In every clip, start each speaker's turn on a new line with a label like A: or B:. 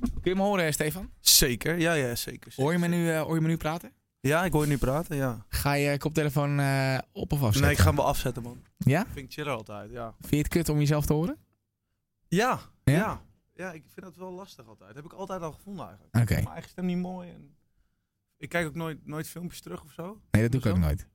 A: Kun je me horen, eh, Stefan?
B: Zeker, ja, ja, zeker.
A: Hoor je me nu, eh, hoor je me nu praten?
B: Ja, ik hoor je nu praten, ja.
A: Ga je koptelefoon eh, op of afzetten?
B: Nee, ik ga hem wel afzetten, man.
A: Ja?
B: Vind ik chiller altijd, ja.
A: Vind je het kut om jezelf te horen?
B: Ja,
A: Ja?
B: ja. ja. ik vind dat wel lastig altijd. heb ik altijd al gevonden eigenlijk.
A: Oké.
B: Mijn eigen stem niet mooi. En ik kijk ook nooit, nooit filmpjes terug of zo.
A: Nee, dat doe ik ook nooit. Oké,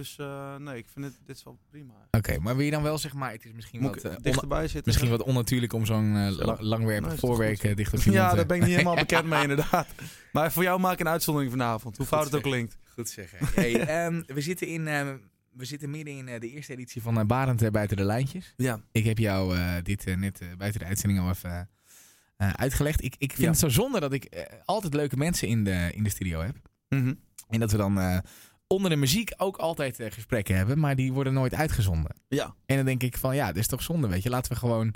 B: Dus eh, nee, ik vind het, dit is wel prima.
A: maar wil je dan wel zeg maar, het is misschien
B: Moet
A: wat,
B: ik
A: eh, ona-
B: dichterbij zitten?
A: misschien wat onnatuurlijk om zo'n eh, la-
B: lang-
A: langwerpig
B: Nee, is toch
A: voorwerk
B: goed?
A: eh, dicht op je mond
B: Ja,
A: eh,
B: daar ben ik niet helemaal bekend mee inderdaad. Maar voor jou maak ik een uitzondering vanavond. Hoe
A: Goed
B: fout het ook
A: zeg.
B: klinkt.
A: Goed zeggen. Hey, ehm, we, zitten in, ehm, we zitten midden in eh, de eerste editie van eh, Barend eh, Buiten de Lijntjes.
B: Ja.
A: Ik heb jou eh, dit eh, net eh, buiten de uitzending al even eh, eh, uitgelegd. Ik, ik vind
B: Ja.
A: het zo zonde dat ik eh, altijd leuke mensen in de, in de studio heb.
B: Mhm.
A: En dat we dan eh, onder de muziek ook altijd eh, gesprekken hebben, maar die worden nooit uitgezonden.
B: Ja.
A: En dan denk ik van ja, dat is toch zonde, weet je. Laten we gewoon...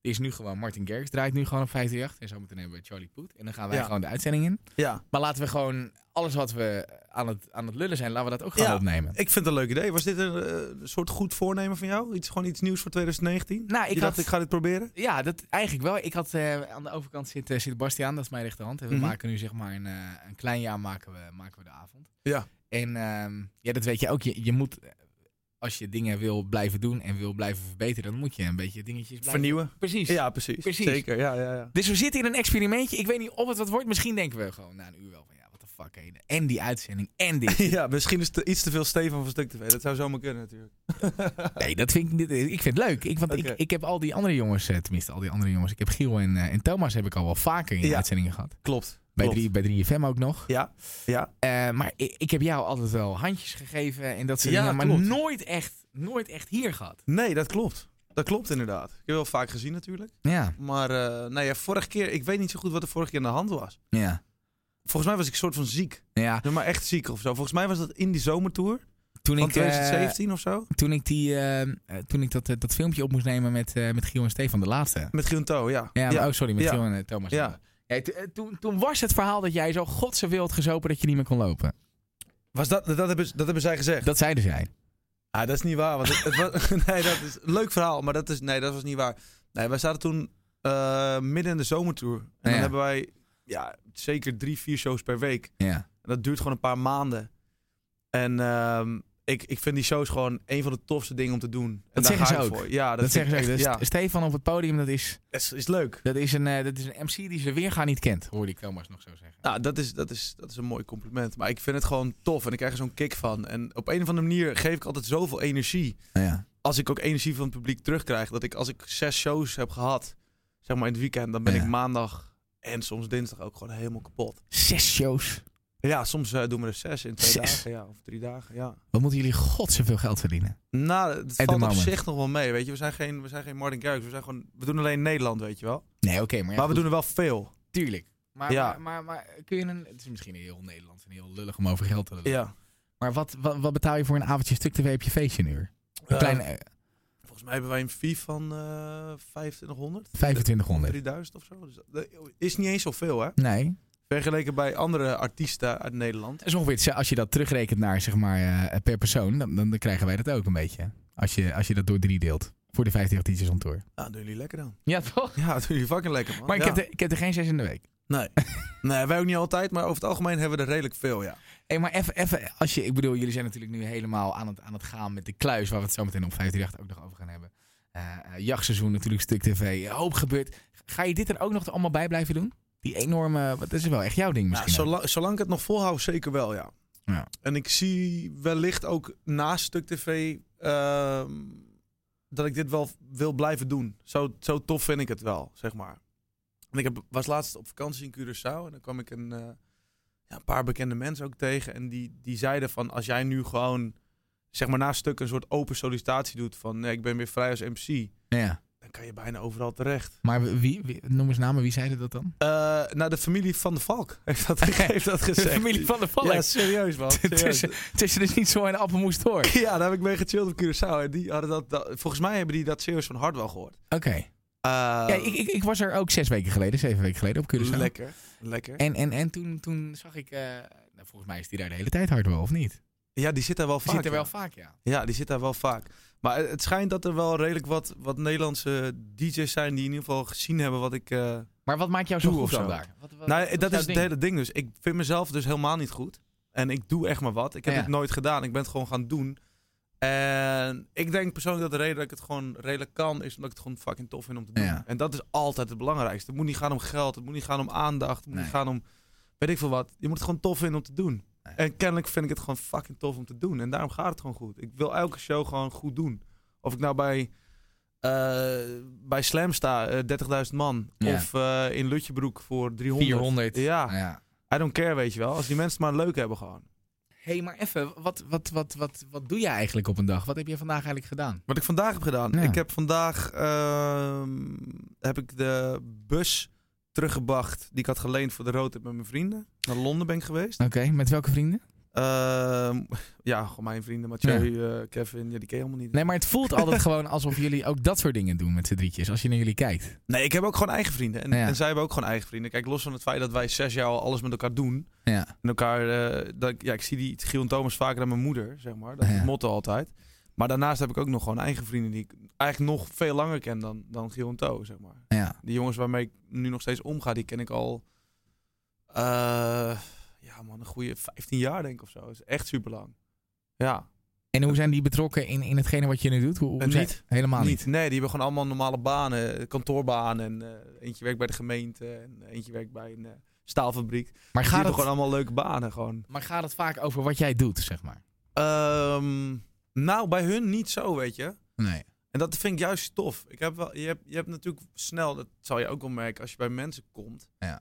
A: Er is nu gewoon Martin Gerks draait nu gewoon op 538. En zometeen hebben we Charlie Poet. En dan gaan wij
B: Ja.
A: gewoon de uitzending in.
B: Ja,
A: Maar laten we gewoon alles wat we aan het, aan het lullen zijn, laten we dat ook gewoon
B: Ja.
A: opnemen.
B: ik vind het een leuk idee. Was dit een eh, soort goed voornemen van jou? Iets, gewoon iets nieuws voor 2019?
A: Nou, ik
B: je dacht,
A: had-
B: ik ga dit proberen?
A: Ja, dat eigenlijk wel. Ik had eh, aan de overkant zit, eh, zit Bastiaan, dat is mijn rechterhand. En we
B: Mhm.
A: maken nu zeg maar een, eh, een klein jaar maken we, maken we de avond.
B: Ja.
A: En ehm, ja, dat weet je ook. Je, je moet, eh, als je dingen wil blijven doen en wil blijven verbeteren, dan moet je een beetje dingetjes blijven.
B: Vernieuwen?
A: Precies.
B: Ja, precies.
A: Precies.
B: Zeker, ja, ja, ja.
A: Dus we zitten in een experimentje. Ik weet niet of het wat wordt. Misschien denken we gewoon na een uur wel van ja, wat de fuck. hé. En die uitzending en dit.
B: Ja, misschien is het iets te veel Stefan van Stuk TV. Dat zou zomaar kunnen natuurlijk.
A: Nee, dat vind ik, niet- ik vind het leuk. Ik, want
B: Oké.
A: ik, ik heb al die andere jongens, eh, tenminste al die andere jongens. Ik heb Giel en, eh, en Thomas heb ik al wel vaker in
B: Ja.
A: uitzendingen gehad.
B: Klopt.
A: Bij,
B: klopt.
A: drie, bij 3FM ook nog.
B: Ja, ja.
A: Eh, maar ik, ik heb jou altijd wel handjes gegeven en dat soort
B: Ja,
A: dingen. Maar
B: klopt.
A: nooit echt, nooit echt hier gehad.
B: Nee, dat klopt. Dat klopt inderdaad. Ik heb wel vaak gezien natuurlijk.
A: Ja,
B: Maar eh nou ja, vorige keer, ik weet niet zo goed wat er vorige keer aan de hand was.
A: ja,
B: Volgens mij was ik soort van ziek.
A: ja.
B: Maar echt ziek of zo. Volgens mij was dat in die zomertour
A: Toen
B: van
A: ik, eh,
B: 2017 of zo.
A: toen ik, die, eh, eh, toen ik dat, eh, dat filmpje op moest nemen met, eh, met Giel en Stefan, de laatste.
B: Met Giunto, ja.
A: Ja, maar-
B: ja.
A: oh, sorry, met
B: Ja.
A: Giel en eh, Thomas.
B: Ja.
A: Ja, t- eh, toen, toen was het verhaal dat jij zo godse wild gezopen dat je niet meer kon lopen.
B: Was dat, dat, hebben, dat hebben zij gezegd.
A: Dat zeiden zij.
B: Ah, dat is niet waar. Want het, het was, nee, dat is een leuk verhaal, maar dat, is, nee, dat was niet waar. Nee, wij zaten toen eh, midden in de zomertour. En
A: Ja.
B: dan hebben wij ja, zeker drie, vier shows per week.
A: Ja,
B: En dat duurt gewoon een paar maanden. En ehm, ik, ik vind die shows gewoon een van de tofste dingen om te doen. En
A: Dat
B: daar
A: zeggen
B: ga
A: ze
B: ik
A: ook.
B: Voor. Ja, dat,
A: dat,
B: vind
A: zeggen
B: ik
A: ze. ook.
B: echt-
A: Dus
B: ja,
A: Stefan op het podium, dat is...
B: dat is, is leuk.
A: Dat is, een, eh, dat is een MC die ze weerga niet kent, hoorde ik Thomas nog zo zeggen.
B: Nou, dat is, dat, is, dat is een mooi compliment. Maar ik vind het gewoon tof en ik krijg er zo'n kick van. En op een of andere manier geef ik altijd zoveel energie.
A: Nou Ja.
B: als ik ook energie van het publiek terugkrijg, dat ik als ik zes shows heb gehad, zeg maar in het weekend, dan ben
A: Ja.
B: ik maandag en soms dinsdag ook gewoon helemaal kapot.
A: Zes shows.
B: Ja, soms eh, doen we er zes in twee
A: Zes.
B: dagen, ja, of drie dagen, ja.
A: Wat moeten jullie god zoveel geld verdienen?
B: Nou, het
A: the
B: valt op
A: moment.
B: zich nog wel mee, weet je. We zijn geen, we zijn geen Martin Garrix, we zijn gewoon, we doen alleen Nederland, weet je wel.
A: Nee, oké, maar, ja,
B: maar we
A: goed,
B: doen er wel veel.
A: tuurlijk. Maar,
B: Ja.
A: maar, maar, maar kun je een... Het is misschien heel Nederlands en heel lullig om over geld te lullen.
B: Ja.
A: Maar wat, wat, wat betaal je voor een avondje stuk tv op je feestje nu? Een kleine eh,
B: volgens mij hebben wij een fee van eh 2500,
A: 2500.
B: 3000 of zo. Dus dat is niet eens zoveel, hè.
A: Nee.
B: Vergeleken bij andere artiesten uit Nederland.
A: Dat is ongeveer, hetzelfde. als je dat terugrekent naar zeg maar eh, per persoon, dan, dan krijgen wij dat ook een beetje. Als je, als je dat door drie deelt. Voor de 50 tientjes on tour.
B: Nou, doen jullie lekker dan.
A: Ja, toch?
B: Ja, doen jullie fucking lekker, man.
A: Maar ik,
B: Ja.
A: heb er, ik heb er geen zes in de week.
B: Nee. nee, wij ook niet altijd, maar over het algemeen hebben we er redelijk veel, ja.
A: Hé, maar even, even, als je, ik bedoel, jullie zijn natuurlijk nu helemaal aan het, aan het gaan met de kluis, waar we het zo meteen op 538 ook nog over gaan hebben. Eh, eh, jachtseizoen natuurlijk, stuk tv, een hoop gebeurt. Ga je dit er ook nog allemaal bij blijven doen? Die enorme, wat is wel echt jouw ding
B: Nou,
A: misschien. ook.
B: zolang, zolang ik het nog volhoud, zeker wel, ja.
A: Ja.
B: En ik zie wellicht ook naast Stuk TV ehm, dat ik dit wel wil blijven doen. Zo, zo tof vind ik het wel, zeg maar. En ik heb, was laatst op vakantie in Curaçao en dan kwam ik een, eh, ja, een paar bekende mensen ook tegen. En die, die zeiden van, als jij nu gewoon, zeg maar naast Stuk, een soort open sollicitatie doet van... Nee, ik ben weer vrij als MC,
A: Ja.
B: dan kan je bijna overal terecht.
A: Maar wie, wie- noem eens namen, wie zeiden dat dan?
B: Eh, nou, de familie van de Valk heeft dat, heeft dat gezegd.
A: van de
B: Ja, serieus man. Serieus.
A: Tussen, tussen dus niet zo en appelmoes door. Oké.
B: Ja, daar heb ik mee gechilled op Curaçao. En die hadden dat, dat- volgens mij hebben die dat serieus van Hardwell gehoord. Eh,
A: Ja, ik, ik, ik was er ook zes weken geleden, zeven weken geleden op Curaçao.
B: Lekker, lekker.
A: En, en, en toen, toen zag ik, eh, nou, volgens mij is die daar de hele tijd hard wel, of niet?
B: Ja, die zit daar wel
A: Zit
B: vaak.
A: er wel
B: ja.
A: vaak, ja.
B: Ja, die zit daar wel vaak. Maar het- het schijnt dat er wel redelijk wat, wat Nederlandse DJ's zijn die in ieder geval gezien hebben wat ik. eh,
A: Maar wat maakt jou zo
B: Doe
A: goed
B: of
A: dan
B: zo.
A: daar? Wat- wat-
B: nou,
A: wat
B: dat
A: jouw
B: is het
A: ding?
B: hele ding dus. Ik vind mezelf dus helemaal niet goed. En ik doe echt maar wat. Ik heb
A: Ja.
B: het nooit gedaan. Ik ben het gewoon gaan doen. En ik denk persoonlijk dat de reden dat ik het gewoon redelijk kan, is omdat ik het gewoon fucking tof vind om te doen.
A: Ja.
B: En dat is altijd het belangrijkste. Het moet niet gaan om geld, het moet niet gaan om aandacht, het moet
A: Nee.
B: niet gaan om weet ik veel wat. Je moet het gewoon tof vinden om te doen.
A: Nee.
B: En kennelijk vind ik het gewoon fucking tof om te doen. En daarom gaat het gewoon goed. Ik wil elke show gewoon goed doen. Of ik nou bij, eh, bij Slam sta, eh, 30.000 man.
A: Ja.
B: Of eh, in Lutjebroek voor 300.
A: 400.
B: Ja.
A: ja.
B: I don't care, weet je wel. Als die mensen het maar leuk hebben gewoon.
A: Hé, hey, maar even, wat, wat, wat, wat, wat doe je eigenlijk op een dag? Wat heb je vandaag eigenlijk gedaan?
B: Wat ik vandaag heb gedaan.
A: Ja.
B: Ik heb vandaag ehm, heb ik de bus teruggebracht die ik had geleend voor de roadtrip met mijn vrienden. Naar Londen ben ik geweest.
A: Oké, met welke vrienden?
B: Ehm, ja, gewoon mijn vrienden. Mathieu, eh, Kevin, ja, die ken je helemaal niet.
A: Nee, maar het voelt altijd gewoon alsof jullie ook dat soort dingen doen met z'n drietjes. Als je naar jullie kijkt.
B: Nee, ik heb ook gewoon eigen vrienden. En,
A: Ja.
B: en zij hebben ook gewoon eigen vrienden. Kijk, los van het feit dat wij zes jaar al alles met elkaar doen.
A: Ja.
B: En elkaar, eh, dat, ik- ja, ik zie die Giel en Thomas vaker dan mijn moeder, zeg maar. Dat is
A: Ja.
B: het motto altijd. Maar daarnaast heb ik ook nog gewoon eigen vrienden die ik eigenlijk nog veel langer ken dan, dan Giel en Thomas, zeg maar.
A: Ja.
B: Die jongens waarmee ik nu nog steeds omga, die ken ik al, eh, ja man, een goede 15 jaar denk ik of zo. Dat is echt super lang. Ja,
A: En hoe zijn die betrokken in, in hetgene wat je nu doet? Hoe, hoe
B: Eh,
A: zijn-
B: niet.
A: Helemaal niet.
B: niet. Nee, die hebben gewoon allemaal normale banen, kantoorbanen. En, eh, eentje werkt bij de gemeente en eentje werkt bij een eh, staalfabriek.
A: Maar
B: die
A: gaat,
B: hebben
A: het,
B: gewoon allemaal leuke banen gewoon.
A: maar gaat het vaak over wat jij doet, zeg maar?
B: Ehm, nou, bij hun niet zo, weet je.
A: Nee.
B: En dat vind ik juist tof. Ik heb wel, je, hebt, je hebt natuurlijk snel, dat zal je ook wel merken als je bij mensen komt,
A: Ja.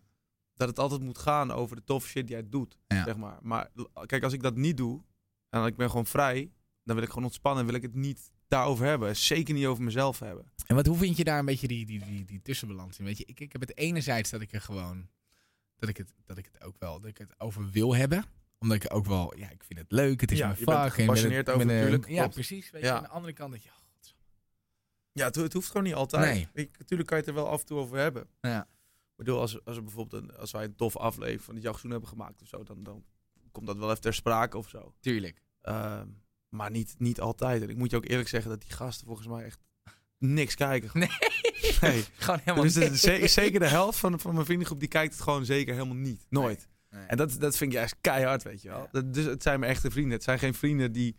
B: dat het altijd moet gaan over de toffe shit die jij doet.
A: Ja.
B: Zeg maar. maar l- kijk, als ik dat niet doe en ik ben gewoon vrij, dan wil ik gewoon ontspannen wil ik het niet daarover hebben. Zeker niet over mezelf hebben.
A: En wat, hoe vind je daar een beetje die, die, die, die tussenbalans in? Weet je, ik, ik heb het enerzijds dat ik er gewoon. Dat ik, het, dat ik het ook wel. Dat ik het over wil hebben. Omdat ik ook wel. Ja, ik vind het leuk. Het is
B: Ja,
A: mijn
B: je bent er
A: vak. en ik ben
B: gepassioneerd
A: er-
B: over
A: ben er-
B: natuurlijk,
A: Ja,
B: klopt.
A: precies. Weet je,
B: Ja.
A: aan de andere kant dat je.
B: Ja, het, ho- het hoeft gewoon niet altijd.
A: Nee.
B: Ik, natuurlijk kan je het er wel af en toe over hebben.
A: Ja.
B: Ik bedoel, als, als, er bijvoorbeeld een, als wij een tof aflevering van het jachtzoen hebben gemaakt of zo, dan, dan komt dat wel even ter sprake of zo.
A: Tuurlijk.
B: Ehm, maar niet, niet altijd. En ik moet je ook eerlijk zeggen dat die gasten volgens mij echt niks kijken.
A: Nee.
B: Nee.
A: Gewoon helemaal
B: Dus de-
A: niks.
B: ze- zeker de helft van, van mijn vriendengroep die kijkt het gewoon zeker helemaal niet. Nooit.
A: Nee.
B: En dat, dat vind ik juist keihard, weet je wel.
A: Ja.
B: Dat, dus het zijn mijn echte vrienden. Het zijn geen vrienden die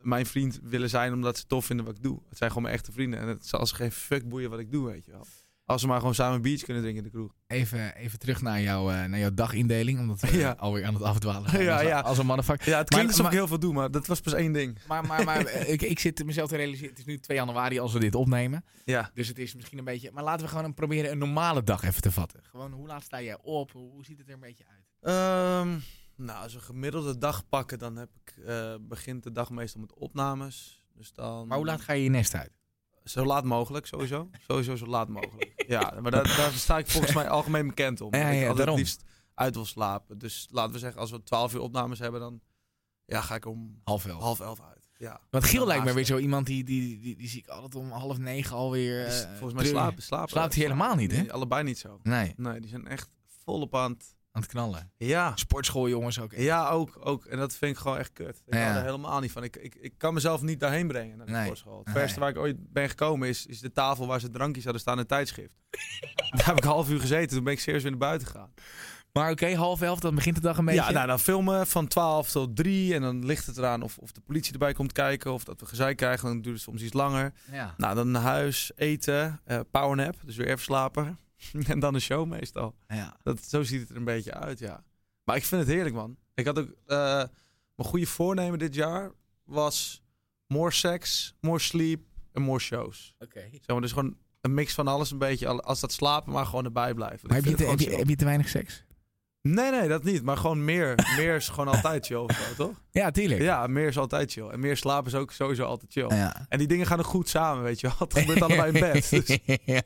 B: mijn vriend willen zijn omdat ze tof vinden wat ik doe. Het zijn gewoon mijn echte vrienden. En het zal ze geen fuck boeien wat ik doe, weet je wel. Als ze maar gewoon samen een biertje kunnen drinken in de kroeg.
A: Even, even terug naar, jou, eh, naar jouw dagindeling, omdat we
B: Ja.
A: eh, alweer aan het afdwalen zijn
B: Ja,
A: als,
B: ja.
A: als een motherfucker.
B: Ja, het klinkt alsof
A: maar-
B: ik heel veel doe, maar dat was pas één ding.
A: Maar, maar, maar eh, ik, ik zit mezelf te realiseren, het is nu 2 januari als we dit opnemen,
B: Ja.
A: dus het is misschien een beetje... Maar laten we gewoon een, proberen een normale dag even te vatten. Gewoon, hoe laat sta jij op? Hoe, hoe ziet het er een beetje uit?
B: Ehm, nou, als we een gemiddelde dag pakken, dan heb ik, eh, begint de dag meestal met opnames. Dus dan...
A: Maar hoe laat ga je je nest uit?
B: Zo laat mogelijk, sowieso. Sowieso zo laat mogelijk. Ja, maar daar, daar sta ik volgens mij algemeen bekend om.
A: Ja, ja,
B: Dat ik altijd
A: daarom.
B: het liefst uit wil slapen. Dus laten we zeggen, als we 12 uur opnames hebben, dan ja, ga ik om
A: Half elf.
B: half elf uit. Ja.
A: Want Giel
B: Dan
A: lijkt me
B: haast
A: weer zo iemand die, die, die, die zie ik altijd om half negen alweer...
B: Dus
A: eh,
B: volgens mij
A: treuren.
B: slapen, slapen.
A: Slaapt hij helemaal niet, hè?
B: Nee, allebei niet zo.
A: Nee,
B: Nee, die zijn echt volop aan het...
A: aan het knallen.
B: Ja.
A: Sportschool jongens ook.
B: Ja, ook, ook. En dat vind ik gewoon echt kut. Ik
A: Ja.
B: hou er helemaal niet van. Ik, ik, ik kan mezelf niet daarheen brengen naar de
A: Nee.
B: sportschool. Het
A: Nee.
B: verste waar ik ooit ben gekomen is, is de tafel waar ze drankjes hadden staan in het tijdschrift. Daar heb ik een half uur gezeten. Toen ben ik serieus weer naar buiten gegaan.
A: Maar oké, half elf, dan begint de dag een beetje.
B: Ja, nou, dan filmen van 12 tot 3. En dan ligt het eraan of, of de politie erbij komt kijken. Of dat we gezeik krijgen. Dan duurt het soms iets langer.
A: ja.
B: Nou, dan naar huis, eten, eh powernap. Dus weer even slapen. en dan een show meestal.
A: ja.
B: Dat, zo ziet het er een beetje uit, ja. Maar ik vind het heerlijk, man. Ik had ook... eh, mijn goede voornemen dit jaar was... More sex, more sleep en more shows.
A: Oké.
B: Zeg maar, dus gewoon een mix van alles een beetje. Al- Als dat slapen maar gewoon erbij blijft. Want
A: Maar heb
B: ik
A: je,
B: vind
A: te,
B: het
A: heb, je,
B: gewoon
A: heb je te weinig seks?
B: chill. Nee, nee, dat niet. Maar gewoon meer. meer is gewoon altijd chill, of zo, toch?
A: Ja, tuurlijk.
B: Ja, meer is altijd chill. En meer slapen is ook sowieso altijd chill.
A: Ja.
B: En die dingen gaan ook goed samen, weet je wel. Het gebeurt allebei in bed. Dus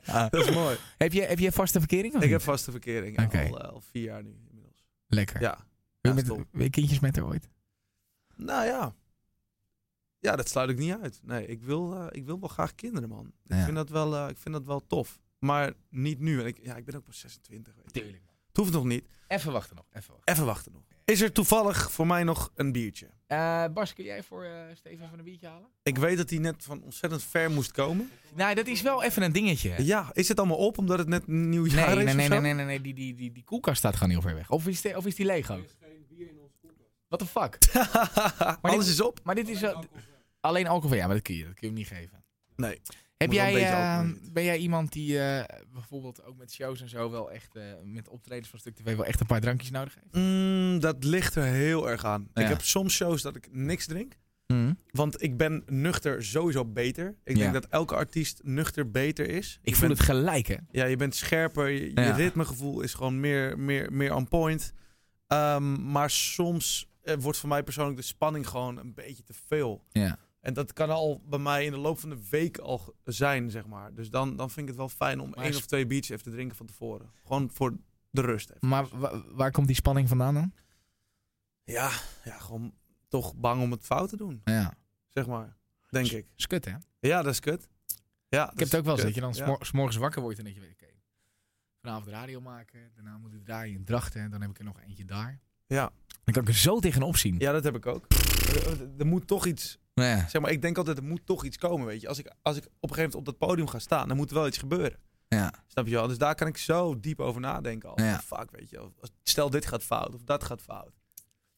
A: Ja.
B: dat is mooi.
A: Heb, je, heb je vaste verkering? of
B: Ik
A: niet?
B: heb vaste verkering. ja,
A: Oké.
B: Al, eh, al vier jaar nu inmiddels.
A: Lekker.
B: Ja.
A: Wil
B: ja,
A: je met-
B: stom.
A: wil je kindjes met haar ooit?
B: Nou ja. Ja, dat sluit ik niet uit. Nee, ik wil, eh, ik wil wel graag kinderen, man. Ik,
A: Ja.
B: vind dat wel, eh, ik vind dat wel tof. Maar niet nu. En ik, ja, ik ben ook pas 26. Weet je.
A: Tuurlijk.
B: Het hoeft nog niet.
A: Even wachten nog. Even wachten.
B: Even wachten nog. Is er toevallig voor mij nog een biertje?
A: Eh, Bas, kun jij voor eh Steven even een biertje halen?
B: Ik weet dat hij net van ontzettend ver moest komen.
A: Nou, dat is wel even een dingetje. hè.
B: Ja, is het allemaal op omdat het net nieuwjaar
A: Nee,
B: is?
A: nee,
B: of
A: nee, nee,
B: zo?
A: nee, nee, nee, Die, die, die, die koelkast staat gewoon heel ver weg. Of is die, of is die leeg ook? What the fuck?
B: Alles is op.
A: Maar dit is wel... Alleen alcohol, ja, maar dat kun je, dat kun je hem niet geven.
B: Nee.
A: Heb
B: Moet wel een
A: jij,
B: beetje
A: eh,
B: alcohol in.
A: ben jij iemand die eh, bijvoorbeeld ook met shows en zo wel echt, eh, met optredens van Stuk TV wel echt een paar drankjes nodig heeft?
B: Mm, dat ligt er heel erg aan.
A: Ja.
B: Ik heb soms shows dat ik niks drink. Want ik ben nuchter sowieso beter. Ik
A: Ja.
B: denk dat elke artiest nuchter beter is.
A: Ik
B: Je
A: voel
B: bent-
A: het gelijk, hè?
B: Ja, je bent scherper. Je, je
A: Ja.
B: ritmegevoel is gewoon meer, meer, meer on point. Ehm, maar soms eh, wordt voor mij persoonlijk de spanning gewoon een beetje te veel.
A: Ja.
B: En dat kan al bij mij in de loop van de week al ge- zijn, zeg maar. Dus dan, dan vind ik het wel fijn om
A: Maar
B: één
A: is-
B: of twee biertjes even te drinken van tevoren. Gewoon voor de rust even.
A: Maar wa- waar komt die spanning vandaan dan?
B: Ja, ja, gewoon toch bang om het fout te doen,
A: Ja.
B: zeg maar. Denk
A: S-
B: ik.
A: is kut, hè?
B: Ja, dat is kut. Ja,
A: Ik heb het ook wel eens dat je dan
B: Dus Ja.
A: s'mor- s'morgens wakker wordt en dat je weet, oké, vanavond radio maken, daarna moet ik draaien in Drachten en dan heb ik er nog eentje daar.
B: Ja.
A: Dan kan ik er zo tegenop zien.
B: Ja, dat heb ik ook. Er- Er moet toch iets
A: Nou ja.
B: Zeg maar, ik denk altijd, er moet toch iets komen, weet je. Als ik, als ik op een gegeven moment op dat podium ga staan, dan moet er wel iets gebeuren.
A: Ja.
B: Snap je wel? Dus daar kan ik zo diep over nadenken al.
A: Ja.
B: Fuck, weet je. Of- Stel dit gaat fout, of dat gaat fout.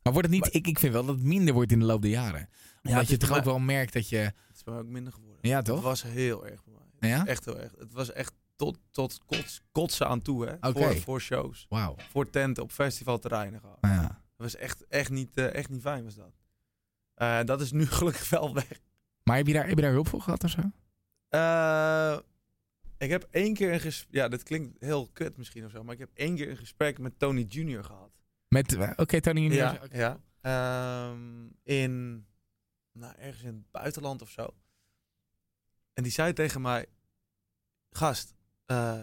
A: Maar wordt het niet, ik, ik vind wel dat het minder wordt in de loop der jaren. Omdat
B: het
A: je
B: is
A: toch
B: bij
A: ook wel merkt dat je,
B: Het is bij mij ook minder geworden.
A: ja
B: Het
A: toch?
B: was heel erg bij mij.
A: Ja?
B: Echt heel erg. Het was echt tot, tot kots, kotsen aan toe, hè.
A: Oké.
B: Voor, voor shows,
A: Wauw.
B: voor tenten, op festivalterreinen gewoon.
A: Nou ja.
B: Het was echt, echt, niet, eh, echt niet fijn, was dat. Eh, dat is nu gelukkig wel weg.
A: Maar heb je, daar, heb je daar hulp voor gehad of zo?
B: Eh, ik heb één keer een gesprek. Ja, dat klinkt heel kut misschien of zo. Maar ik heb één keer een gesprek met Tony Junior gehad.
A: Met, eh, oké Tony Junior.
B: ja,
A: oké.
B: ja. Ehm, in. Nou, ergens in het buitenland of zo. En die zei tegen mij: Gast, eh,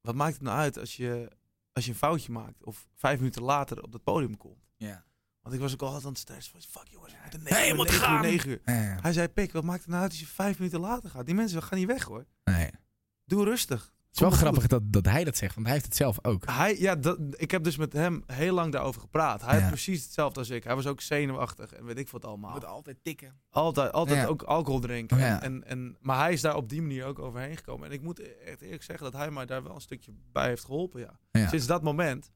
B: wat maakt het nou uit als je, als je een foutje maakt? Of vijf minuten later op dat podium komt?
A: Ja.
B: Want ik was ook al altijd aan het stressen. van, Fuck jongens, ik moet een
A: Nee, je moet gaan.
B: negen uur.
A: Eh,
B: Hij zei: Pik, wat maakt het nou uit als je vijf minuten later gaat? Die mensen gaan niet weg hoor.
A: nee. Het
B: Doe rustig.
A: is wel
B: Komt goed.
A: grappig dat, dat hij dat zegt, want hij heeft het zelf ook.
B: Hij, ja, dat, ik heb dus met hem heel lang daarover gepraat. Hij
A: Ja.
B: had precies hetzelfde als ik. Hij was ook zenuwachtig en weet ik wat allemaal.
A: altijd tikken.
B: Altijd, altijd
A: Ja.
B: ook alcohol drinken.
A: Ja.
B: En, en, maar hij is daar op die manier ook overheen gekomen. En ik moet echt eerlijk zeggen dat hij mij daar wel een stukje bij heeft geholpen. Ja.
A: Ja.
B: Sinds dat moment.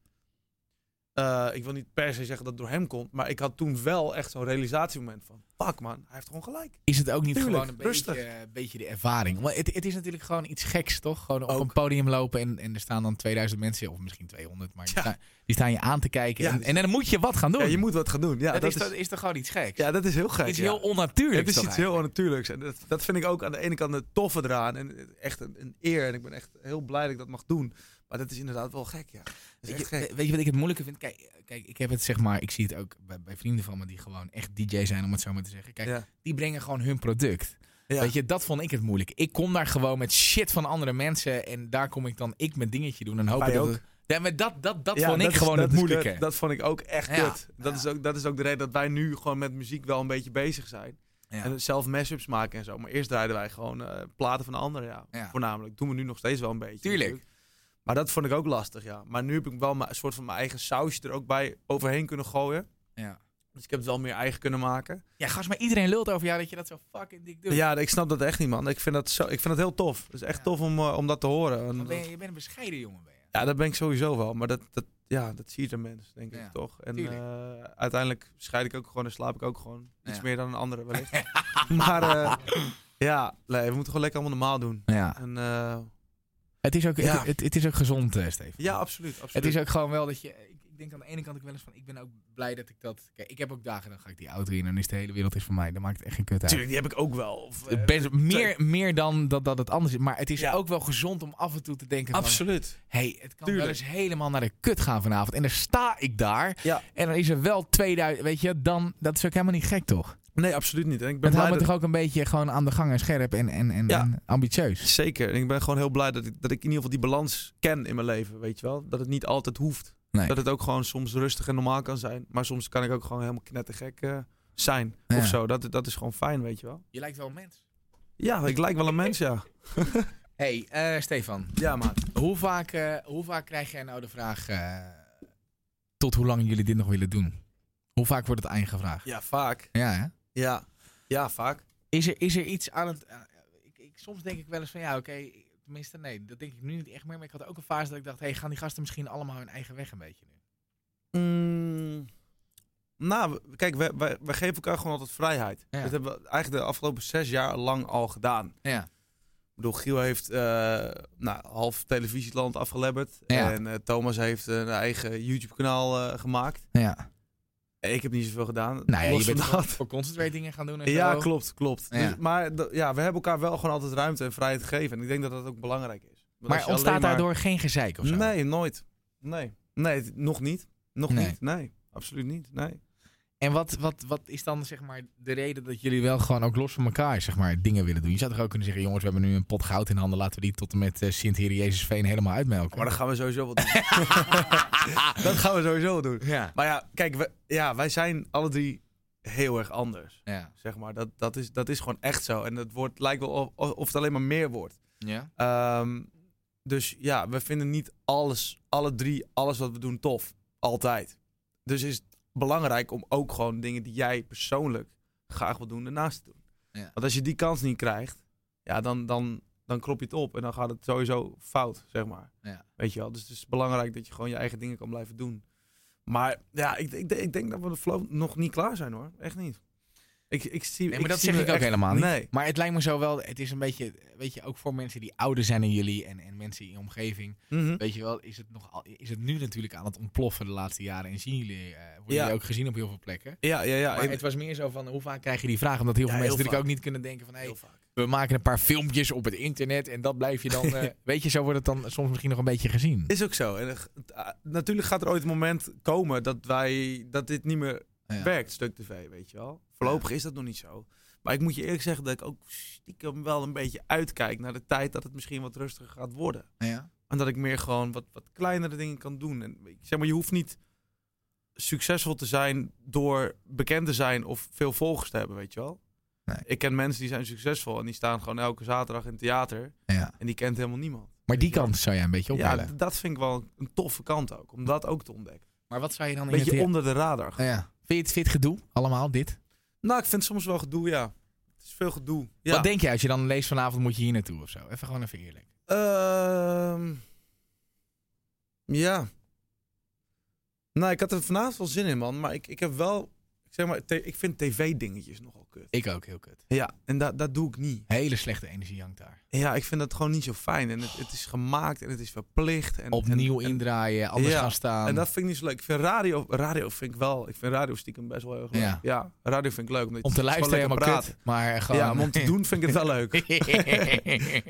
B: eh, ik wil niet per se zeggen dat het door hem komt. Maar ik had toen wel echt zo'n realisatiemoment van... Fuck man, hij heeft gewoon gelijk.
A: Is het ook niet
B: Tuurlijk,
A: gewoon een
B: rustig.
A: beetje, eh, een beetje de ervaring? Want het, het is natuurlijk gewoon iets geks, toch? Gewoon op
B: Ook.
A: een podium lopen en, en er staan dan 2000 mensen, of misschien 200, maar die,
B: Ja.
A: staan, die staan je aan te kijken.
B: Ja,
A: en,
B: dus-
A: en dan moet je wat gaan doen.
B: Ja, je moet wat gaan doen. Ja,
A: dat,
B: dat,
A: is, toch-
B: is,
A: is toch gewoon iets geks?
B: ja, dat is heel gek.
A: iets
B: ja.
A: heel onnatuurlijk.
B: Het is
A: toch
B: iets heel onnatuurlijks. En dat, dat vind ik ook aan de ene kant het toffe eraan. En echt een, een eer. En ik ben echt heel blij dat ik dat mag doen. Maar dat is inderdaad wel gek, ja. Dat is echt
A: Weet
B: gek.
A: je, weet je wat ik het moeilijke vind? Kijk, kijk, ik heb het zeg maar, ik zie het ook bij, bij vrienden van me die gewoon echt DJ zijn, om het zo maar te zeggen. Kijk,
B: Ja.
A: die brengen gewoon hun product.
B: Ja.
A: Weet je, dat vond ik het moeilijk. Ik kom daar gewoon met shit van andere mensen en daar kom ik dan ik mijn dingetje doen en hopen
B: Wij
A: dat
B: ook.
A: het- Ja, maar dat, dat, dat
B: Ja,
A: vond ik
B: is-
A: gewoon
B: dat
A: het
B: is
A: moeilijke.
B: kut. Dat vond ik ook echt
A: Ja.
B: kut. Dat, is ook, dat is ook de reden dat wij nu gewoon met muziek wel een beetje bezig zijn.
A: Ja.
B: En zelf mashups maken en zo. Maar eerst draaiden wij gewoon eh, platen van anderen, ja.
A: Ja.
B: Voornamelijk. Doen we nu nog steeds wel een beetje.
A: Tuurlijk.
B: Maar dat vond ik ook lastig, ja. Maar nu heb ik wel mijn- een soort van mijn eigen sausje er ook bij overheen kunnen gooien.
A: Ja.
B: Dus ik heb het wel meer eigen kunnen maken.
A: Ja, gast, maar iedereen lult over jou dat je dat zo fucking dik doet.
B: Ja, ik snap dat echt niet, man. Ik vind dat, zo, ik vind dat heel tof. Het is echt
A: Ja.
B: tof om, eh, om dat te horen. En
A: Maar ben
B: dat-
A: je, je bent een bescheiden jongen, ben je.
B: ja, dat ben ik sowieso wel. Maar dat, dat, ja, dat zie je de mens, denk
A: Ja,
B: ik toch. En
A: tuurlijk.
B: eh, uiteindelijk scheid ik ook gewoon en slaap ik ook gewoon. Iets
A: Ja.
B: meer dan een andere wellicht. maar eh, ja, nee, we moeten gewoon lekker allemaal normaal doen.
A: Ja.
B: En, eh,
A: Het is ook,
B: Ja.
A: het, het, het is ook gezond, eh, Steven.
B: ja, absoluut. absoluut.
A: Het is ook gewoon wel dat je. Ik, ik denk aan de ene kant ook wel eens van. Ik ben ook blij dat ik dat. Kijk, ik heb ook dagen dan ga ik die auto in en dan is de hele wereld is voor mij. Dan maakt het echt geen kut uit.
B: Tuurlijk, die heb ik ook wel. Of, eh,
A: Best, meer, meer dan dat, dat het anders is. Maar het is
B: Ja.
A: ook wel gezond om af en toe te denken van...
B: absoluut.
A: hey, het kan wel
B: Tuurlijk.
A: eens helemaal naar de kut gaan vanavond. En dan sta ik daar.
B: Ja.
A: En dan is er wel 2000... Weet je, dan... Dat is ook helemaal niet gek, toch?
B: Nee, absoluut niet. En ik ben
A: Dat
B: blij
A: houdt me
B: dat-
A: toch ook een beetje gewoon aan de gang en scherp en, en, en,
B: Ja.
A: en ambitieus.
B: Zeker. En ik ben gewoon heel blij dat ik, dat ik in ieder geval die balans ken in mijn leven, weet je wel. Dat het niet altijd hoeft.
A: Nee.
B: Dat het ook gewoon soms rustig en normaal kan zijn. Maar soms kan ik ook gewoon helemaal knettergek eh, zijn
A: Ja.
B: of zo. Dat, dat is gewoon fijn, weet je wel.
A: Je lijkt wel een mens.
B: Ja, ik lijk wel een mens, ja.
A: hey, eh, Stefan.
B: Ja, maat.
A: Hoe vaak, eh, hoe vaak krijg jij nou de vraag... eh, tot hoe lang jullie dit nog willen doen? Hoe vaak wordt het aan je gevraagd?
B: Ja, vaak.
A: Ja, hè?
B: Ja, ja vaak.
A: Is er, is er iets aan het... aan- ik, ik, soms denk ik wel eens van, ja, oké... tenminste, nee, dat denk ik nu niet echt meer. Maar ik had ook een fase dat ik dacht... hey, gaan die gasten misschien allemaal hun eigen weg een beetje nu?
B: Mm, nou, we- kijk, wij, wij, wij geven elkaar gewoon altijd vrijheid.
A: Ja.
B: Dus Dat hebben we eigenlijk de afgelopen zes jaar lang al gedaan.
A: Ja.
B: Ik bedoel, Giel heeft eh, nou, half televisieland afgelebberd.
A: Ja.
B: En eh, Thomas heeft een eigen YouTube-kanaal eh, gemaakt.
A: Ja.
B: En Ik heb niet zoveel gedaan.
A: Nou ja,
B: Los
A: je bent
B: van dat.
A: voor, voor concentrate dingen gaan doen en
B: Ja,
A: zo.
B: klopt, klopt.
A: Ja.
B: Dus, maar d- ja, we hebben elkaar wel gewoon altijd ruimte en vrijheid gegeven. En ik denk dat dat ook belangrijk is. Want als
A: Maar
B: je
A: ontstaat
B: alleen maar-
A: daardoor geen gezeik of zo?
B: Nee, nooit. Nee. Nee, het- nog niet. Nog
A: Nee.
B: niet. Nee, absoluut niet. Nee.
A: En wat, wat, wat is dan zeg maar de reden dat jullie wel gewoon ook los van elkaar zeg maar, dingen willen doen? Je zou toch ook kunnen zeggen, jongens, we hebben nu een pot goud in handen. Laten we die tot en met eh, sint Heren Jezusveen helemaal uitmelken.
B: Maar dat gaan we sowieso wel doen. dat gaan we sowieso wel doen.
A: ja.
B: Maar ja, kijk, we, ja, wij zijn alle drie heel erg anders.
A: Ja.
B: Zeg maar. dat, dat, is, dat is gewoon echt zo. En het wordt, lijkt wel of, of het alleen maar meer wordt.
A: Ja.
B: Ehm, dus ja, we vinden niet alles, alle drie, alles wat we doen tof. Altijd. Dus is het belangrijk om ook gewoon dingen die jij persoonlijk graag wil doen, ernaast te doen.
A: Ja.
B: Want als je die kans niet krijgt, ja, dan, dan, dan krop je het op en dan gaat het sowieso fout, zeg maar.
A: Ja.
B: Weet je wel? Dus het is belangrijk dat je gewoon je eigen dingen kan blijven doen. Maar ja, ik, ik, ik denk dat we de flow nog niet klaar zijn hoor. Echt niet. Ik, ik zie,
A: Nee, maar dat
B: zie
A: zeg
B: me
A: ik ook
B: echt-
A: helemaal niet.
B: Nee.
A: Maar het lijkt me zo wel, het is een beetje, weet je, ook voor mensen die ouder zijn dan jullie en, en mensen in je omgeving.
B: Mhm.
A: Weet je wel, is het, nogal, is het nu natuurlijk aan het ontploffen de laatste jaren. En zien jullie, eh, worden
B: Ja.
A: jullie ook gezien op heel veel plekken.
B: Ja, ja, ja.
A: Maar
B: en-
A: het was meer zo van, hoe vaak krijg je die vraag? Omdat heel
B: Ja,
A: veel
B: heel
A: mensen natuurlijk
B: vaak.
A: ook niet kunnen denken van, hey,
B: heel vaak.
A: we maken een paar filmpjes op het internet en dat blijf je dan. eh, weet je, zo wordt het dan soms misschien nog een beetje gezien.
B: Is ook zo. En, eh, g- t- ah, natuurlijk gaat er ooit een moment komen dat, wij, dat dit niet meer
A: Ja.
B: werkt, stuk tv, weet je wel. Voorlopig is dat nog niet zo. Maar ik moet je eerlijk zeggen dat ik ook stiekem wel een beetje uitkijk naar de tijd dat het misschien wat rustiger gaat worden.
A: Ja.
B: En dat ik meer gewoon wat, wat kleinere dingen kan doen. En ik zeg maar, je hoeft niet succesvol te zijn door bekend te zijn of veel volgers te hebben, weet je wel.
A: Nee.
B: Ik ken mensen die zijn succesvol en die staan gewoon elke zaterdag in het theater
A: ja.
B: en die kent helemaal niemand.
A: Maar die
B: Weet je wel?
A: kant zou jij een beetje op
B: Ja,
A: willen.
B: d- dat vind ik wel een toffe kant ook, om dat ook te ontdekken.
A: Maar wat zou je dan
B: Een
A: in het
B: beetje
A: thea-
B: onder de radar.
A: Ah, ja. vind, je het, vind je het gedoe? Allemaal dit?
B: Nou, ik vind het soms wel gedoe, ja. Het is veel gedoe. Ja.
A: Wat denk je als je dan leest vanavond moet je hier naartoe of zo? Even gewoon even eerlijk.
B: Ehm, ja. Nou, ik had er vanavond wel zin in, man. Maar ik, ik heb wel... Ik, zeg maar, te- ik vind tv-dingetjes nogal kut.
A: Ik ook, heel kut.
B: Ja, en dat dat doe ik niet.
A: Hele slechte energie hangt daar.
B: Ja, ik vind dat gewoon niet zo fijn. En het, het is gemaakt en het is verplicht. En,
A: Opnieuw
B: en,
A: indraaien, anders
B: Ja,
A: gaan staan.
B: En dat vind ik niet zo leuk. Ik vind radio, radio vind ik wel. Ik vind radio stiekem best wel heel erg leuk.
A: Ja.
B: Ja, radio vind ik leuk. Omdat
A: om
B: het
A: te
B: is
A: luisteren
B: gewoon
A: helemaal
B: lekker
A: kut. Maar eh, gewoon...
B: Ja, maar om te doen vind ik het wel leuk.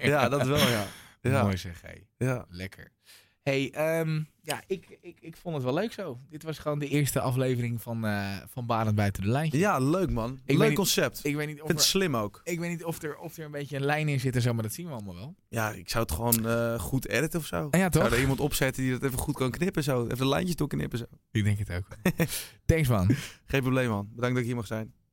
B: Ja, dat wel, ja. Ja,
A: Mooi zeg, hé.
B: ja.
A: Lekker. Hey, ehm, ja, ik, ik, ik vond het wel leuk zo. Dit was gewoon de eerste aflevering van, eh van Barend Buiten de Lijntje.
B: ja leuk man.
A: weet
B: leuk
A: niet-
B: concept. Ik
A: Ik weet niet of,
B: vind het
A: er,
B: slim ook.
A: ik weet niet of, er, of er een beetje een lijn in zit en zo, maar dat zien we allemaal wel.
B: Ja, ik zou het gewoon eh, goed editen of zo.
A: Ah, ja,
B: Zou
A: toch?
B: er iemand opzetten die dat even goed kan knippen zo. Even de lijntjes doorknippen zo.
A: Ik denk het ook. Thanks, man.
B: Geen probleem man. Bedankt dat ik hier mag zijn.